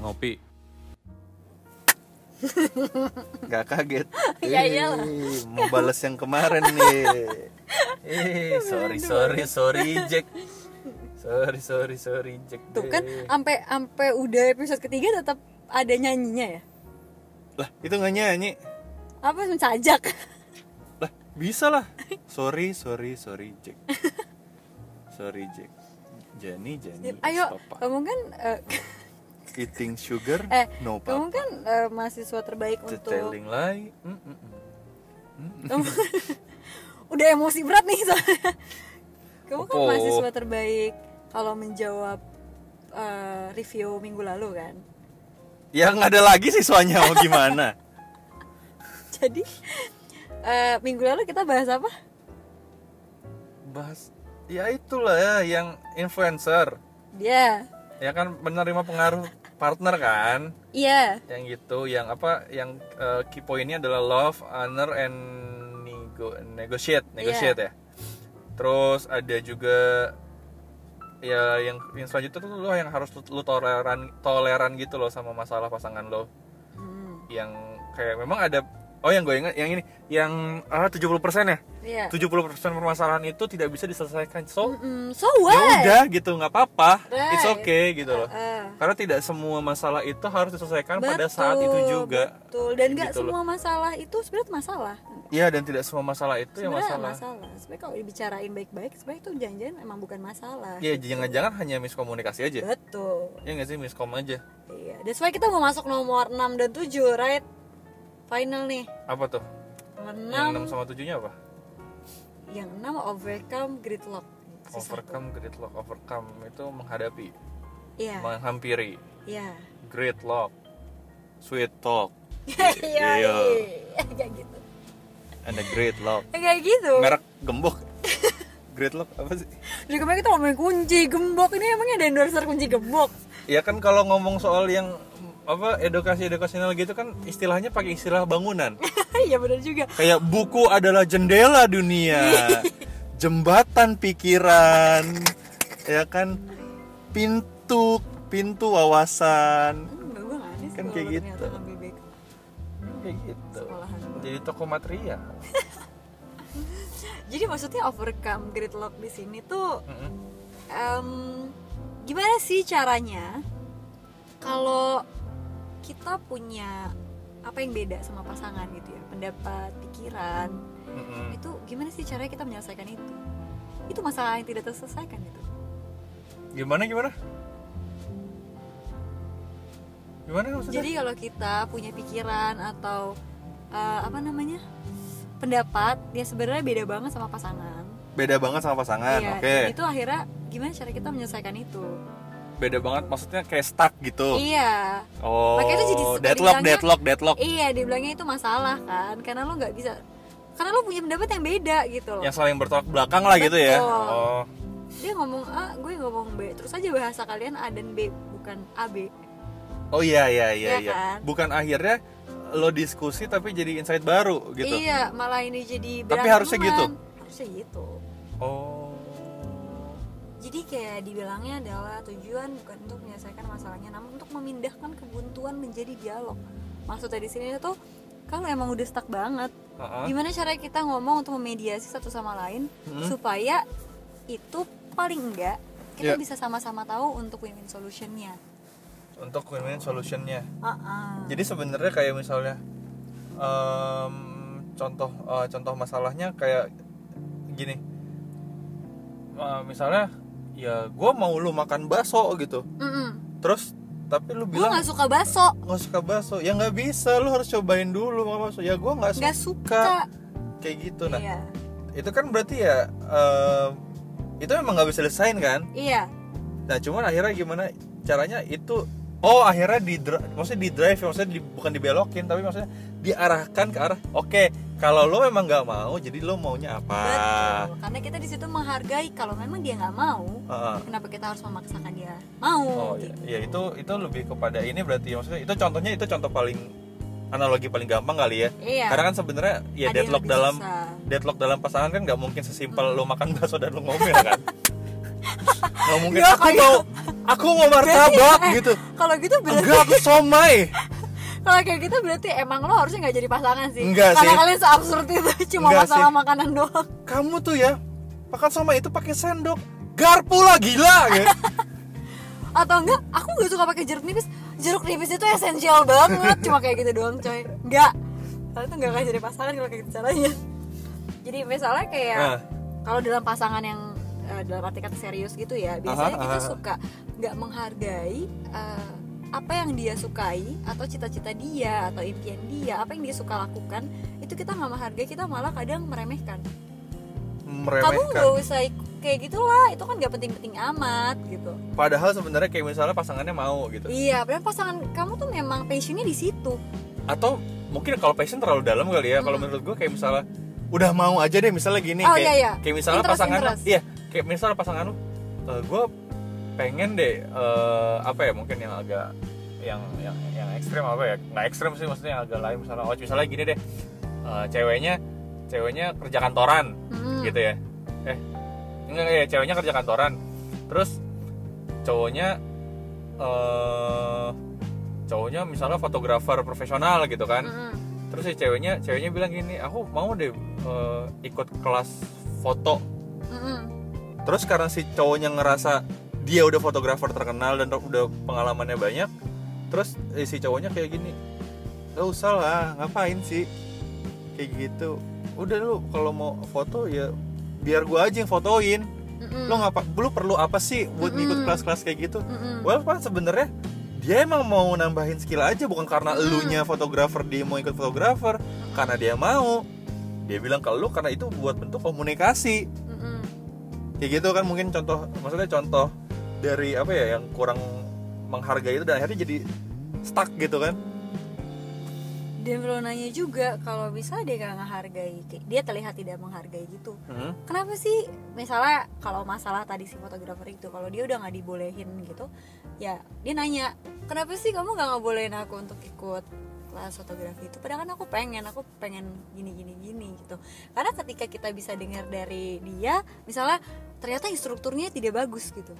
ngopi nggak kaget Ya iyalah. Ih, mau balas yang kemarin nih eh sorry sorry sorry Jack sorry sorry sorry Jack Eh. Tuh kan iya, sampai sampai udah episode ketiga tetap ada nyanyinya ya. lah itu nggak nyanyi Apa mencajak? lah bisa lah sorry sorry sorry Jack sorry Jack Jani Jani is Ayo, papa. kamu kan eh, eating sugar eh no kamu papa kan eh, mahasiswa terbaik The untuk telling lie Mm, mm, mm. Kamu- udah emosi berat nih soalnya. Kamu kan Apa? mahasiswa terbaik kalau menjawab eh, review minggu lalu kan. ya nggak ada lagi siswanya mau gimana Jadi eh, minggu lalu kita bahas apa? bahas ya itulah ya yang influencer Dia. ya kan menerima pengaruh partner kan Iya. yang gitu yang apa yang eh, key pointnya adalah love honor and nego- negotiate negotiate ya terus ada juga ya yang yang selanjutnya tuh lo yang harus lu, lu toleran toleran gitu loh sama masalah pasangan lo Hmm, yang kayak memang ada oh yang gue ingat yang ini yang ah 70% ya Iya. 70% permasalahan itu tidak bisa diselesaikan so Mm, so ya what? udah gitu nggak apa-apa Right. it's okay gitu loh Ah, karena tidak semua masalah itu harus diselesaikan Kan pada saat betul, itu juga Betul. Dan nggak Gitu loh. semua masalah itu sebenarnya masalah. Iya dan tidak semua masalah itu ya Sebenarnya masalah masalah. Sebenarnya kalau dibicarain baik-baik, sebenarnya itu janjian emang bukan masalah. Iya jangan-jangan hanya miskomunikasi aja Betul. ya nggak sih miskom aja Iya. That's why kita mau masuk nomor 6 dan 7, right? Final nih. apa tuh Nomor yang 6 6. sama 7 nya apa Yang 6 overcome gridlock. Sesuatu. overcome gridlock overcome itu menghadapi Iya. menghampiri Iya. gridlock sweet talk Iya. Iya. Kayak gitu. and a great lock Kayak gitu. merek gembok gridlock apa sih Jadi kemarin kita ngomongin kunci gembok ini emangnya ada endorser kunci gembok. Ya kan kalau ngomong soal yang apa edukasi edukasional gitu kan istilahnya pakai istilah bangunan. Iya benar juga. Kayak buku adalah jendela dunia, jembatan pikiran, ya kan pintu pintu wawasan Hmm, gue gak aneh sih Kan kalau kayak lu gitu. ternyata ngambil back kayak gitu. sekolahan. Jadi toko material. Jadi maksudnya overcome gridlock di sini tuh Mm-mm. em, gimana sih caranya kalau kita punya apa yang beda sama pasangan gitu ya pendapat pikiran Mm-mm. itu gimana sih caranya kita menyelesaikan itu itu masalah yang tidak terselesaikan gitu Gimana gimana? Gimana maksudnya? Jadi kalau kita punya pikiran atau eh, apa namanya pendapat dia sebenarnya beda banget sama pasangan. beda banget sama pasangan, Iya, oke. dan Itu akhirnya gimana cara kita menyelesaikan itu? Beda banget maksudnya kayak stuck gitu. Iya, Oh, Makanya itu jadi suka deadlock, dibilangnya- deadlock, deadlock. iya dibilangnya itu masalah kan? Karena lo nggak bisa, karena lo punya pendapat yang beda gitu loh. yang saling bertolak belakang lah gitu ya. Betul. Oh, Dia ngomong A, gue ngomong B, terus aja bahasa kalian A dan B bukan A B. oh iya iya iya Iya iya. kan? Bukan akhirnya lo diskusi tapi jadi insight baru gitu. Iya, malah ini jadi Tapi harusnya beranteman. gitu. Harusnya gitu. Oh. Jadi kayak dibilangnya adalah tujuan bukan untuk menyelesaikan masalahnya, namun untuk memindahkan kebuntuan menjadi dialog. Maksudnya di sini tuh kalau emang udah stuck banget, Heeh. gimana cara kita ngomong untuk memediasi satu sama lain Hmm. supaya itu paling enggak kita Ya. bisa sama-sama tahu untuk win-win solutionnya. Untuk win-win solutionnya. Ah, ah. Jadi sebenarnya kayak misalnya em, contoh eh, contoh masalahnya kayak gini. Eh, misalnya ya gue mau lu makan bakso gitu. Mm-mm. Terus tapi lu Gue bilang nggak suka bakso, nggak suka bakso ya nggak bisa lu harus cobain dulu makan bakso ya gue nggak suka nggak suka. kayak gitu nah Iya, itu kan berarti ya eh, itu memang nggak bisa selesain kan iya, nah cuman akhirnya gimana caranya itu oh akhirnya di dri- maksudnya di drive maksudnya di- bukan dibelokin tapi maksudnya diarahkan ke arah oke kalau lo memang nggak mau jadi lo maunya apa betul. Karena kita di situ menghargai kalau memang dia nggak mau, Heeh. kenapa kita harus memaksakan dia oh mau? gitu. iya. ya itu itu lebih kepada ini berarti maksudnya itu contohnya itu contoh paling analogi paling gampang kali ya Iya. karena kan sebenarnya ya Ada yang deadlock lebih dalam susah. Hmm. deadlock dalam pasangan kan nggak mungkin sesimpel lo makan bakso dan lo ngomel kan nggak mungkin Ya, aku kayak- mau aku mau martabak gitu Kalau gitu berarti enggak aku somai kalau kayak gitu berarti emang lo harusnya nggak jadi pasangan sih. Enggak Karena sih. kalian seabsurd itu cuma Enggak masalah sih. makanan doang. kamu tuh ya makan somai itu pakai sendok garpu lah gila gitu. Atau enggak? Aku gak suka pakai jeruk nipis. Jeruk nipis itu esensial banget. cuma kayak gitu doang, coy. Enggak. Kalian tuh nggak akan jadi pasangan kalau kayak gitu caranya. Jadi misalnya kayak Nah. kalau dalam pasangan yang eh, dalam arti kata serius gitu ya, biasanya Aha, kita aha. suka nggak menghargai eh, apa yang dia sukai atau cita-cita dia atau impian dia, apa yang dia suka lakukan, itu kita nggak menghargai, kita malah kadang meremehkan. Kamu nggak meremehkan usah ik- kayak gitulah, itu kan nggak penting-penting amat gitu. padahal sebenarnya kayak misalnya pasangannya mau gitu Iya, padahal pasangan kamu tuh memang passionnya di situ. atau mungkin kalau passion terlalu dalam kali ya kalau menurut gue kayak misalnya udah mau aja deh misalnya gini Oh, kayak iya, iya. kayak misalnya Interest, pasangan interest. iya kayak misalnya pasangan lu gue pengen deh eh, apa ya mungkin yang agak yang yang yang ekstrim apa ya nggak ekstrim sih maksudnya yang agak lain misalnya oh misalnya gini deh eh, ceweknya ceweknya kerja kantoran Hmm. gitu ya eh enggak ya ceweknya kerja kantoran terus cowoknya eh cowoknya misalnya fotografer profesional gitu kan Mm-mm. terus si ceweknya ceweknya bilang gini aku mau deh eh, ikut kelas foto Mm-mm. terus karena si cowoknya ngerasa dia udah fotografer terkenal dan udah pengalamannya banyak terus eh, si cowoknya kayak gini gak usah lah ngapain sih kayak gitu udah lu kalau mau foto ya biar gua aja yang fotoin Mm-mm. lo ngapa lu perlu apa sih buat Mm-mm. ngikut kelas-kelas kayak gitu Mm-mm. well pak sebenarnya dia emang mau nambahin skill aja bukan karena Mm. elunya fotografer dia mau ikut fotografer karena dia mau dia bilang ke lu karena itu buat bentuk komunikasi Mm-mm. kayak gitu kan mungkin contoh maksudnya contoh dari apa ya yang kurang menghargai itu dan akhirnya jadi stuck gitu kan Dan perlu nanya juga kalau bisa dia gak menghargai, kayak dia terlihat tidak menghargai gitu. Hmm. Kenapa sih? Misalnya kalau masalah tadi si fotografer itu, kalau dia udah nggak dibolehin gitu, ya dia nanya, kenapa sih kamu nggak ngebolehin aku untuk ikut kelas fotografi itu? Padahal kan aku pengen, aku pengen gini gini gini gitu. Karena ketika kita bisa dengar dari dia, misalnya ternyata instrukturnya tidak bagus gitu,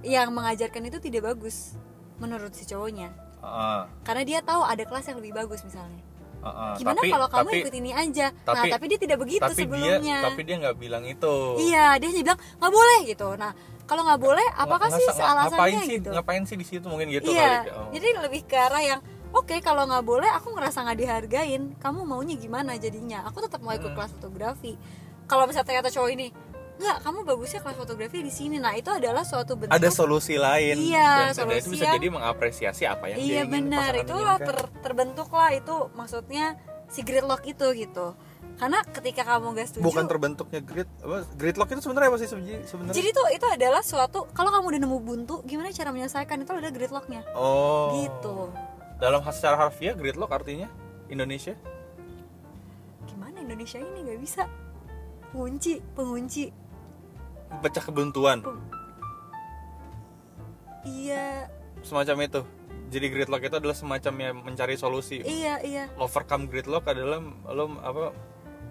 yang mengajarkan itu tidak bagus menurut si cowoknya. Ah, Karena dia tahu ada kelas yang lebih bagus misalnya ah, ah. gimana tapi kalau kamu tapi, ikut ini aja nah tapi- tapi dia tidak begitu tapi dia sebelumnya tapi dia nggak bilang itu iya dia hanya bilang nggak boleh gitu nah kalau nggak boleh apakah Nggak- sih nggak- ngapain alasannya sih gitu ngapain sih di situ mungkin gitu iya kali. Oh. jadi lebih ke arah yang oke kalau nggak boleh aku ngerasa nggak dihargain kamu maunya gimana jadinya aku tetap mau ikut Hmm. kelas fotografi kalau misalnya ternyata cowok ini nggak kamu bagusnya kelas fotografi di sini nah itu adalah suatu bentuk ada solusi lain Iya, dan sebenarnya itu solusi bisa yang- jadi mengapresiasi apa yang dia iya ingin benar pasangan kan. itu inginkan. ter- terbentuk lah itu maksudnya si gridlock itu gitu karena ketika kamu gak setuju bukan terbentuknya grid apa gridlock itu sebenarnya apa sih sebenarnya sebenarnya? Jadi tuh itu adalah suatu kalau kamu udah nemu buntu, gimana cara menyelesaikan itu ada gridlocknya. oh Gitu. dalam has- secara harfiah gridlock artinya Indonesia Gimana Indonesia ini nggak bisa kunci pengunci pecah kebuntuan iya semacam itu jadi gridlock itu adalah semacam yang mencari solusi iya iya overcome gridlock adalah lo apa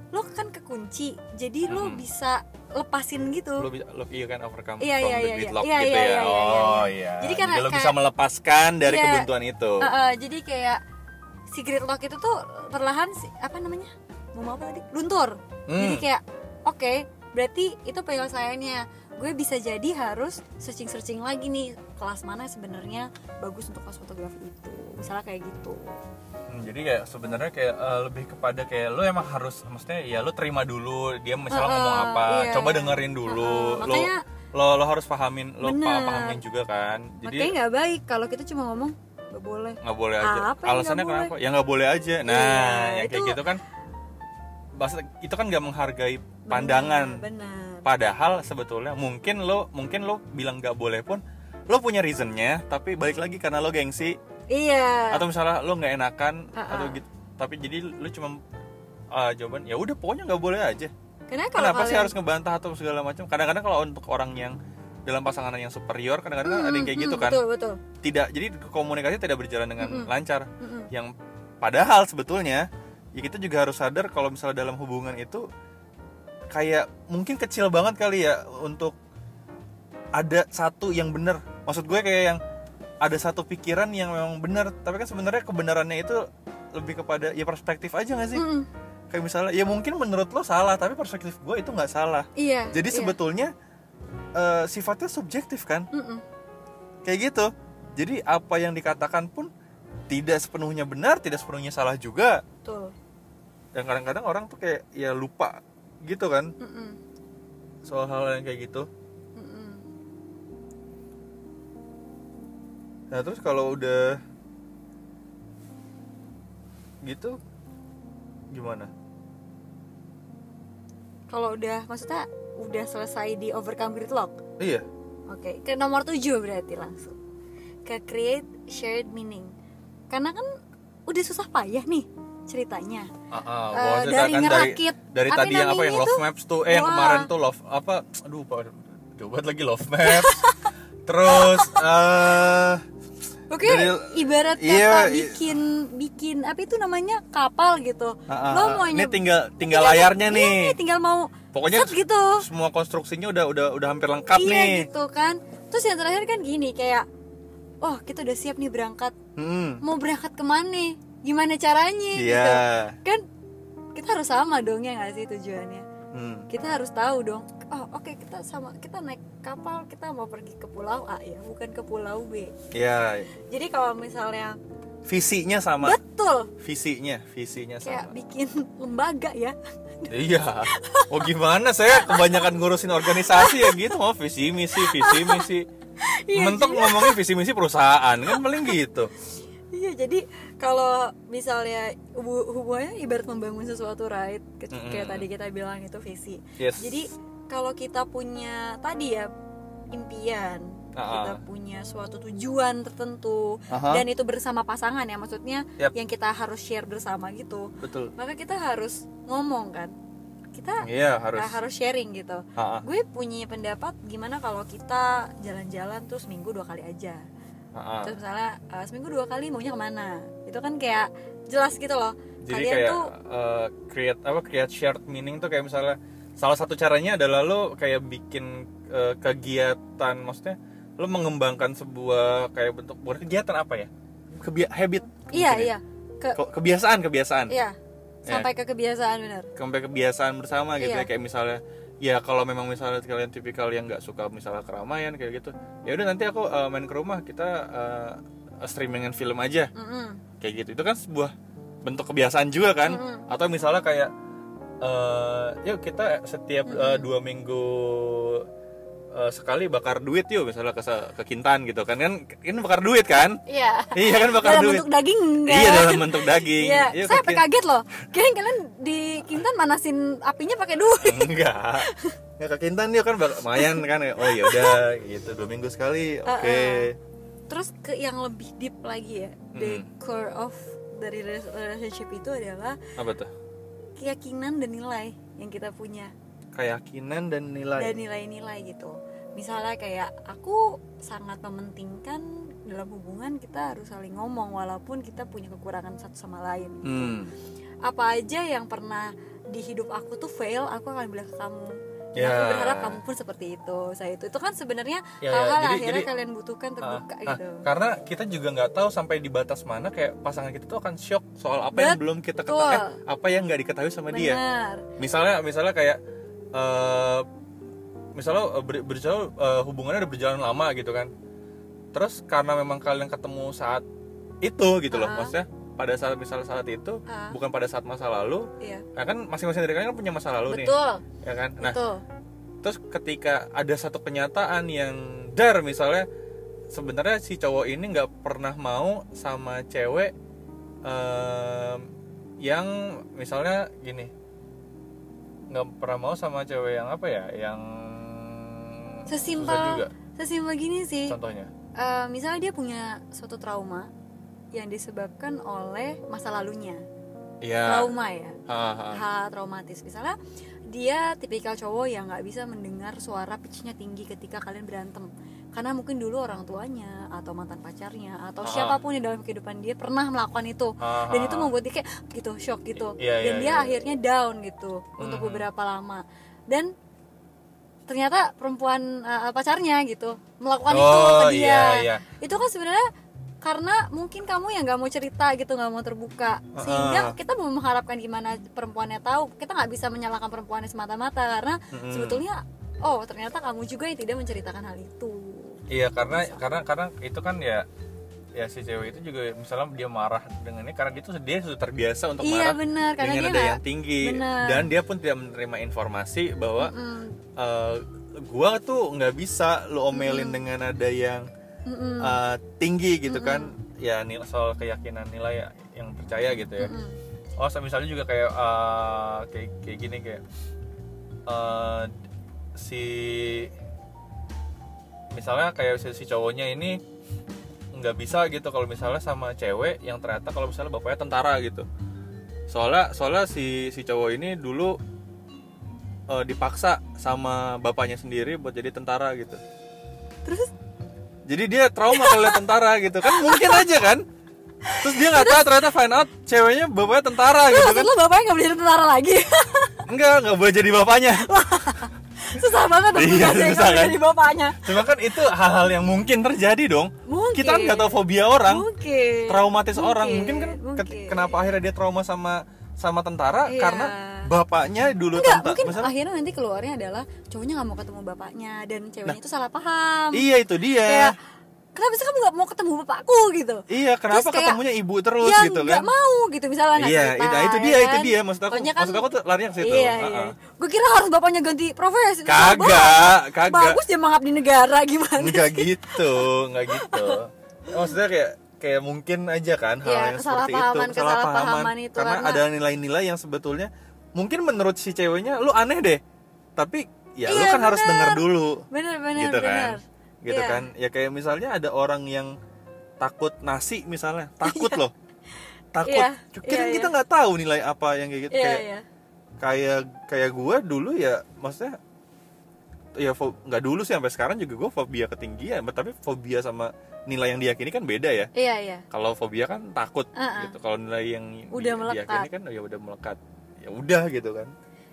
lo kan kekunci jadi lo Mm-mm. bisa lepasin lo gitu bisa lo you can overcome Iya, from iya, the iya, gridlock iya, gitu ya iya, iya, iya, oh iya. iya Jadi karena- lo bisa kayak- melepaskan dari Iya. kebuntuan itu Eh, eh, jadi kayak si gridlock itu tuh perlahan si- apa namanya mau apa tadi luntur Hmm. jadi kayak oke berarti itu penyelesaiannya gue bisa jadi harus searching searching lagi nih kelas mana sebenarnya bagus untuk kelas fotografi itu misalnya kayak gitu Hmm, jadi kayak sebenarnya kayak eh, lebih kepada kayak lo emang harus maksudnya ya lo terima dulu dia misalnya Heeh, ngomong apa iya. coba dengerin dulu Heeh, lo makanya- lo lo harus pahamin lo pa- Bener. pahamin juga kan makanya jadi nggak baik kalau kita cuma ngomong nggak boleh nggak boleh aja Apa yang alasannya nggak kenapa ya nggak boleh aja nah Iya, yang kayak itu- gitu kan bahasa itu kan nggak menghargai pandangan benar padahal sebetulnya mungkin lo mungkin lo bilang nggak boleh pun lo punya reasonnya tapi balik lagi karena lo gengsi iya atau misalnya lo nggak enakan Ah, ah. atau gitu tapi jadi lo cuma ah, jawaban ya udah pokoknya nggak boleh aja karena kalau kenapa sih kalian- harus ngebantah atau segala macam kadang-kadang kalau untuk orang yang dalam pasangan yang superior kadang-kadang ada yang kayak Mm, gitu mm, kan betul betul tidak jadi komunikasi tidak berjalan dengan lancar Mm-mm. yang padahal sebetulnya ya kita juga harus sadar kalau misalnya dalam hubungan itu kayak mungkin kecil banget kali ya untuk ada satu yang bener maksud gue kayak yang ada satu pikiran yang memang bener tapi kan sebenarnya kebenarannya itu lebih kepada ya perspektif aja gak sih Mm-mm. kayak misalnya ya mungkin menurut lo salah tapi perspektif gue itu nggak salah Iya. jadi iya. sebetulnya eh, sifatnya subjektif kan Mm-mm. kayak gitu jadi apa yang dikatakan pun tidak sepenuhnya benar tidak sepenuhnya salah juga Betul. dan kadang-kadang orang tuh kayak ya lupa gitu kan Mm-mm. soal hal yang kayak gitu Mm-mm. nah terus kalau udah gitu gimana Kalau udah maksudnya udah selesai di overcome gridlock. iya Oke, ke nomor 7 berarti langsung. Ke create shared meaning. Karena kan udah susah payah nih ceritanya. Ah, ah, Eh, bahwa cerita dari kan ngerakit, dari, dari apa tadi yang apa namanya yang itu? love maps tuh eh yang Wah. kemarin tuh love apa aduh apa coba lagi love maps terus eh Oke, Jadi- ibarat kata iya, i- bikin bikin apa itu namanya kapal gitu. ah, ah, Lo ah, mau ini nyob- tinggal tinggal layarnya iya nih tinggal mau Pokoknya set gitu. semua konstruksinya udah udah udah hampir lengkap iya nih gitu kan. Terus yang terakhir kan gini kayak oh, kita udah siap nih berangkat. Hmm. Mau berangkat kemana? Gimana caranya gitu. iya Kan kita harus sama dong ya nggak sih tujuannya. Hmm. kita harus tahu dong oh oke kita sama kita naik kapal kita mau pergi ke pulau A ya bukan ke pulau B Iya, jadi kalau misalnya visinya sama betul visinya visinya kayak sama bikin lembaga ya iya oh gimana saya kebanyakan ngurusin organisasi ya gitu mau visi misi visi misi Iya, mentok ya? ngomongin visi misi perusahaan kan paling gitu iya jadi kalau misalnya hubu- hubungannya ibarat membangun sesuatu right Ke- Mm-mm. kayak tadi kita bilang itu visi yes jadi kalau kita punya tadi ya impian kita Ah. punya suatu tujuan tertentu Aha. dan itu bersama pasangan ya maksudnya Yap. yang kita harus share bersama gitu betul maka kita harus ngomong kan kita iya harus, harus harus sharing gitu Ah, ah, gue punya pendapat gimana kalau kita jalan-jalan terus minggu dua kali aja ah, ah. terus misalnya eh, seminggu dua kali maunya kemana itu kan kayak jelas gitu loh jadi kalian kayak tuh eh, create apa create shared meaning tuh kayak misalnya salah satu caranya adalah lo kayak bikin eh, kegiatan maksudnya lo mengembangkan sebuah kayak bentuk bukan kegiatan apa ya Kebia- habit iya mungkin ya. iya ke Ke- kebiasaan kebiasaan iya sampai ke kebiasaan bener sampai kebiasaan bersama gitu Iya. ya kayak misalnya ya kalau memang misalnya kalian tipikal yang nggak suka misalnya keramaian kayak gitu ya udah nanti aku eh, main ke rumah kita eh, streamingan film aja Mm-mm. kayak gitu itu kan sebuah bentuk kebiasaan juga kan Mm-mm. atau misalnya kayak eh yuk kita setiap eh, dua minggu eh, sekali bakar duit yuk misalnya ke se- ke kintan gitu kan kan kan bakar duit kan iya iya kan bakar dalam duit bentuk daging enggak iya dalam bentuk daging Iya, Yuk saya ke sampai Kin- kaget loh. Kirain kalian di Kintan manasin apinya pakai duit. enggak ya ke kintan yuk kan bak- lumayan kan oh ya udah gitu dua minggu sekali oke Uh-uh. Terus ke yang lebih deep lagi ya, the Hmm. core of dari rela- relationship itu adalah apa tuh keyakinan dan nilai yang kita punya keyakinan dan dan nilai nilai-nilai gitu. Misalnya kayak aku sangat mementingkan dalam hubungan kita harus saling ngomong walaupun kita punya kekurangan satu sama lain. hmm Apa aja yang pernah di hidup aku tuh fail, aku akan bilang ke kamu. Dan Ya. Aku berharap kamu pun seperti itu. Saya itu itu kan sebenarnya Ya, ya. hal-hal Jadi- akhirnya jadi- kalian butuhkan terbuka Ah, ah, gitu. karena kita juga nggak tahu sampai di batas mana kayak pasangan kita tuh akan shock soal apa yang Betul. belum kita ketahui, eh, apa yang nggak diketahui sama dia. Benar. Misalnya, misalnya kayak eh, misalnya eh, ber, berjalan eh, hubungannya udah berjalan lama gitu kan. Terus karena memang kalian ketemu saat itu gitu loh, Ah. maksudnya pada saat misalnya saat itu, Ah. bukan pada saat masa lalu. Iya. Nah, kan masing-masing dari kalian kan punya masa lalu nih, Betul. ya kan? Nah, Betul. terus ketika ada satu kenyataan yang dar misalnya sebenarnya si cowok ini nggak pernah mau sama cewek em, yang misalnya gini nggak pernah mau sama cewek yang apa ya yang Sesimpel susah juga sesimpel gini sih. contohnya Eh, misalnya dia punya suatu trauma yang disebabkan oleh masa lalunya. iya Trauma ya. Ah, ah. Hal traumatis. Misalnya dia tipikal cowok yang nggak bisa mendengar suara pitchnya tinggi ketika kalian berantem karena mungkin dulu orang tuanya atau mantan pacarnya atau Ah. siapapun yang dalam kehidupan dia pernah melakukan itu Ah, dan ah, itu ah. membuat dia kayak gitu shock gitu Iya, dan iya, dia iya. akhirnya down gitu untuk Mhm. beberapa lama dan ternyata perempuan eh, pacarnya gitu Oh, melakukan itu ke dia iya, iya. itu kan sebenarnya karena mungkin kamu yang nggak mau cerita gitu nggak mau terbuka Ah, sehingga kita mau mengharapkan gimana perempuannya tahu kita nggak bisa menyalahkan perempuannya semata-mata karena sebetulnya oh ternyata kamu juga yang tidak menceritakan hal itu Iya karena karena karena itu kan ya ya si cewek itu juga misalnya dia marah dengan ini karena dia tuh dia sudah terbiasa untuk Iya, marah ya. benar, karena dengan dia nada nggak- yang tinggi benar. dan dia pun tidak menerima informasi bahwa Mm, eh, gua tuh nggak bisa lo Hmm. omelin dengan nada yang mm-mm, eh, tinggi Hmm. gitu kan ya nilai soal keyakinan nilai ya- yang percaya gitu ya mm. oh so- misalnya juga kayak eh, kayak kayak gini kayak eh, si misalnya kayak si, si cowoknya ini nggak bisa gitu kalau misalnya sama cewek yang ternyata kalau misalnya bapaknya tentara gitu soalnya soalnya si si cowok ini dulu eh, dipaksa sama bapaknya sendiri buat jadi tentara gitu terus jadi dia trauma kalau lihat tentara gitu kan mungkin aja kan terus dia nggak tahu ternyata find out ceweknya bapaknya tentara terus gitu maksud lo bapaknya nggak belajar tentara lagi enggak nggak boleh jadi bapaknya susah banget Iya, untuk jadi- susah kan? jadi bapaknya cuma kan itu hal-hal yang mungkin terjadi dong Mungkin. kita kan nggak tahu fobia orang mungkin traumatis orang mungkin kan mungkin. ket- kenapa akhirnya dia trauma sama sama tentara Iya. karena bapaknya dulu Enggak, tentara mungkin akhirnya nanti keluarnya adalah cowoknya nggak mau ketemu bapaknya dan ceweknya itu salah paham iya itu dia um, kayak kenapa sih kamu nggak mau ketemu bapakku gitu iya kenapa Terus kayak, ketemunya ibu terus yang gitu nggak kan mau gitu misalnya nggak Iya, cerita, itu- itu ya dia, itu kan? dia. Maksud aku- Pokoknya maksud aku tuh larinya ke situ. iya, iya. Ha-ha. gue kira harus bapaknya ganti profesi Terus Kagak, bapak, kagak. bagus dia mengabdi negara gimana nggak gitu nggak gitu maksudnya kayak kayak mungkin aja kan hal Iya, yang seperti itu kesalahpahaman- kesalahpahaman itu, karena, karena- ada nilai-nilai yang sebetulnya mungkin menurut si ceweknya lu aneh deh tapi ya lu Iya, kan harus bener. denger dulu bener bener gitu bener kan gitu Iya. kan ya kayak misalnya ada orang yang takut nasi misalnya takut loh takut Iya, Kita- kan iya, kita iya. nggak tahu nilai apa yang kayak gitu iya kayak iya kayak kayak gue dulu ya maksudnya ya fo- nggak dulu sih sampai sekarang juga gue fobia ketinggian tapi fobia sama nilai yang diyakini kan beda ya iya iya kalau fobia kan takut Uh-uh. gitu kalau nilai yang di- Udah melekat. diyakini kan ya udah melekat ya udah gitu kan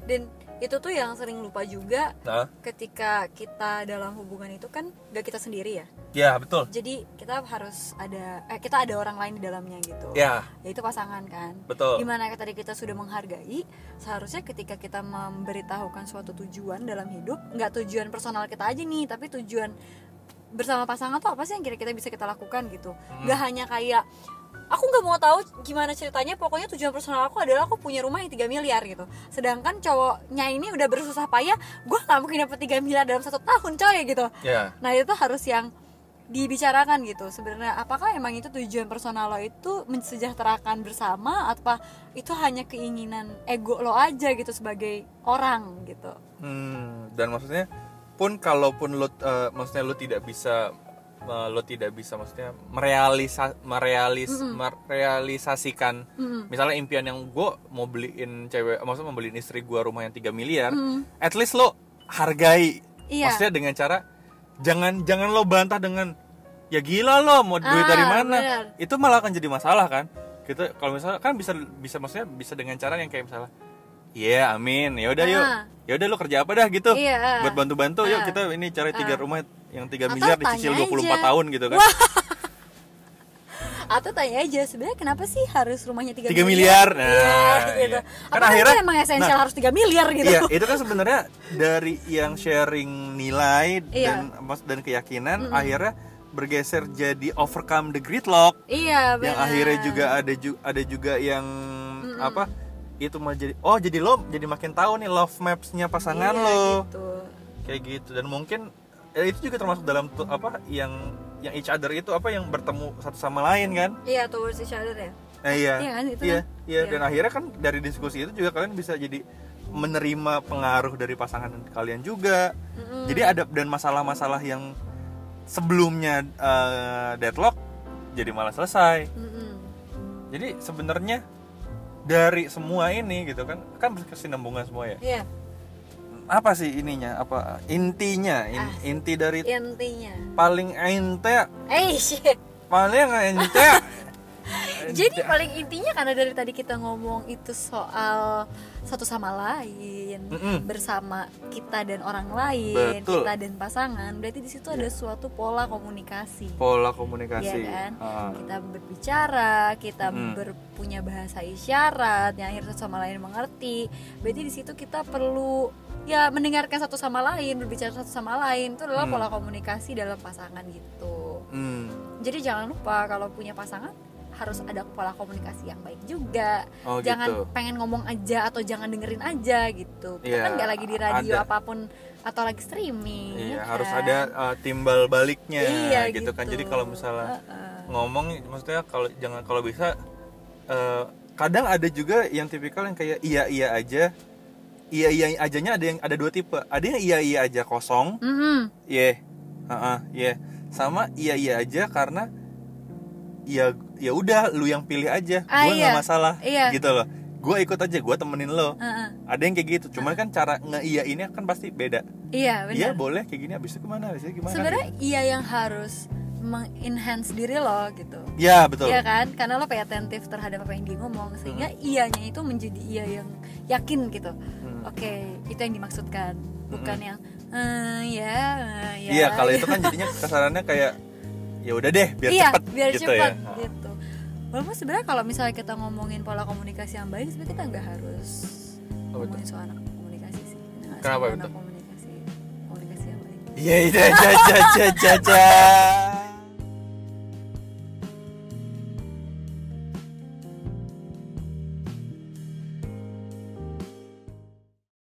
dan itu tuh yang sering lupa juga nah ketika kita dalam hubungan itu kan gak kita sendiri ya ya betul jadi kita harus ada eh, kita ada orang lain di dalamnya gitu ya Oh. yaitu pasangan kan Betul. dimana tadi kita sudah menghargai seharusnya ketika kita memberitahukan suatu tujuan dalam hidup nggak tujuan personal kita aja nih tapi tujuan bersama pasangan tuh apa sih yang kira-kira bisa kita lakukan gitu nggak hanya kayak aku nggak mau tahu gimana ceritanya pokoknya tujuan personal aku adalah aku punya rumah yang 3 miliar gitu sedangkan cowoknya ini udah bersusah payah gue nggak mungkin dapet 3 miliar dalam satu tahun coy gitu ya Nah itu harus yang dibicarakan gitu sebenarnya apakah emang itu tujuan personal lo itu mensejahterakan bersama atau apa itu hanya keinginan ego lo aja gitu sebagai orang gitu Hmm, dan maksudnya pun kalaupun lo eh, maksudnya lo tidak bisa eh, lo tidak bisa maksudnya merealisa merealis merealisasikan misalnya impian yang gue mau beliin cewek maksudnya mau beliin istri gue rumah yang 3 miliar at least lo hargai Iya. maksudnya ya, dengan cara jangan jangan lo bantah dengan ya gila lo mau duit Ah, dari mana bener. itu malah akan jadi masalah kan gitu kalau misalnya kan bisa bisa maksudnya bisa dengan cara yang kayak misalnya Iya, amin. Ya udah yuk. Ah. Ya udah lo kerja apa dah gitu. Iya. Ah. Buat bantu-bantu yuk kita ini cari tiga rumah yang 3 miliar tanya dicicil aja. 24 tahun gitu kan. atau tanya aja sebenarnya kenapa sih harus rumahnya 3, 3 miliar? Nah, Iya, gitu. iya. Kan Apakah akhirnya- itu emang esensial nah, harus 3 miliar gitu Iya, itu kan sebenarnya dari yang sharing nilai Iya. dan mas- dan keyakinan akhirnya bergeser jadi overcome the gridlock iya benar yang akhirnya juga ada ju- ada juga yang apa itu malah jadi oh jadi lo jadi makin tahu nih love maps-nya pasangan Iya, lo. gitu. kayak gitu dan mungkin ya itu juga termasuk dalam tu- apa yang yang each other itu apa yang bertemu satu sama lain kan iya towards each other ya nah, iya Iya kan, itu iya iya. kan? Iya. dan akhirnya kan dari diskusi itu juga kalian bisa jadi menerima pengaruh dari pasangan kalian juga Hmm. jadi ada dan masalah-masalah yang sebelumnya eh, deadlock jadi malah selesai Mm-mm. jadi sebenarnya dari semua ini gitu kan kan berkesinambungan semua ya iya apa sih ininya apa intinya in- Ah. inti dari intinya paling ente eh shit paling ente Jadi paling intinya karena dari tadi kita ngomong itu soal satu sama lain, Mm-mm. bersama kita dan orang lain, Betul. Ya. kita dan pasangan. Berarti di situ ada suatu pola komunikasi. pola komunikasi Iya kan? Ah. Kita berbicara, kita Mm. berpunya bahasa isyarat yang akhirnya satu sama lain mengerti. Berarti di situ kita perlu ya mendengarkan satu sama lain, berbicara satu sama lain. Itu adalah Mm. pola komunikasi dalam pasangan gitu. Hmm, Jadi jangan lupa kalau punya pasangan harus ada pola komunikasi yang baik juga. oh jangan gitu pengen ngomong aja atau jangan dengerin aja gitu. Kita Iya, kan nggak lagi di radio ada. apapun atau lagi streaming. iya ya harus kan? ada uh, timbal baliknya Iya, gitu, kan jadi kalau misalnya Heeh. ngomong maksudnya kalau jangan kalau bisa eh, kadang ada juga yang tipikal yang kayak iya iya aja iya iya ajanya ada yang ada dua tipe ada yang iya iya aja kosong Mm-mm. iya Heeh, iya sama iya iya aja karena ya ya udah lu yang pilih aja gue Ah, nggak iya. masalah Iya. gitu loh gue ikut aja gue temenin lo Heeh. ada yang kayak gitu cuman kan cara nge iya ini kan pasti beda Iya iya Ah. benar. boleh gitu. kayak gini abis itu kemana abis itu gimana Sebenarnya iya yang harus mengenhance diri lo gitu. ya betul Iya kan? Karena lo pay attentive terhadap apa yang dia ngomong sehingga ianya itu menjadi iya yang yakin gitu. Hmm. Oke, itu yang dimaksudkan. Bukan yang "Eh, ya, eh, ya. Iya, kalau itu kan jadinya kesarannya kayak ya udah deh, biar iya, cepet biar gitu cepet ya. gitu. Walaupun sebenarnya kalau misalnya kita ngomongin pola komunikasi yang baik, sebenarnya kita nggak harus Apa ngomongin soal anak komunikasi sih. Bener nggak sih? Oh, Kenapa Soal itu? Anak komunikasi, komunikasi yang baik. Iya, iya, ja, ja, ja, ja, ja.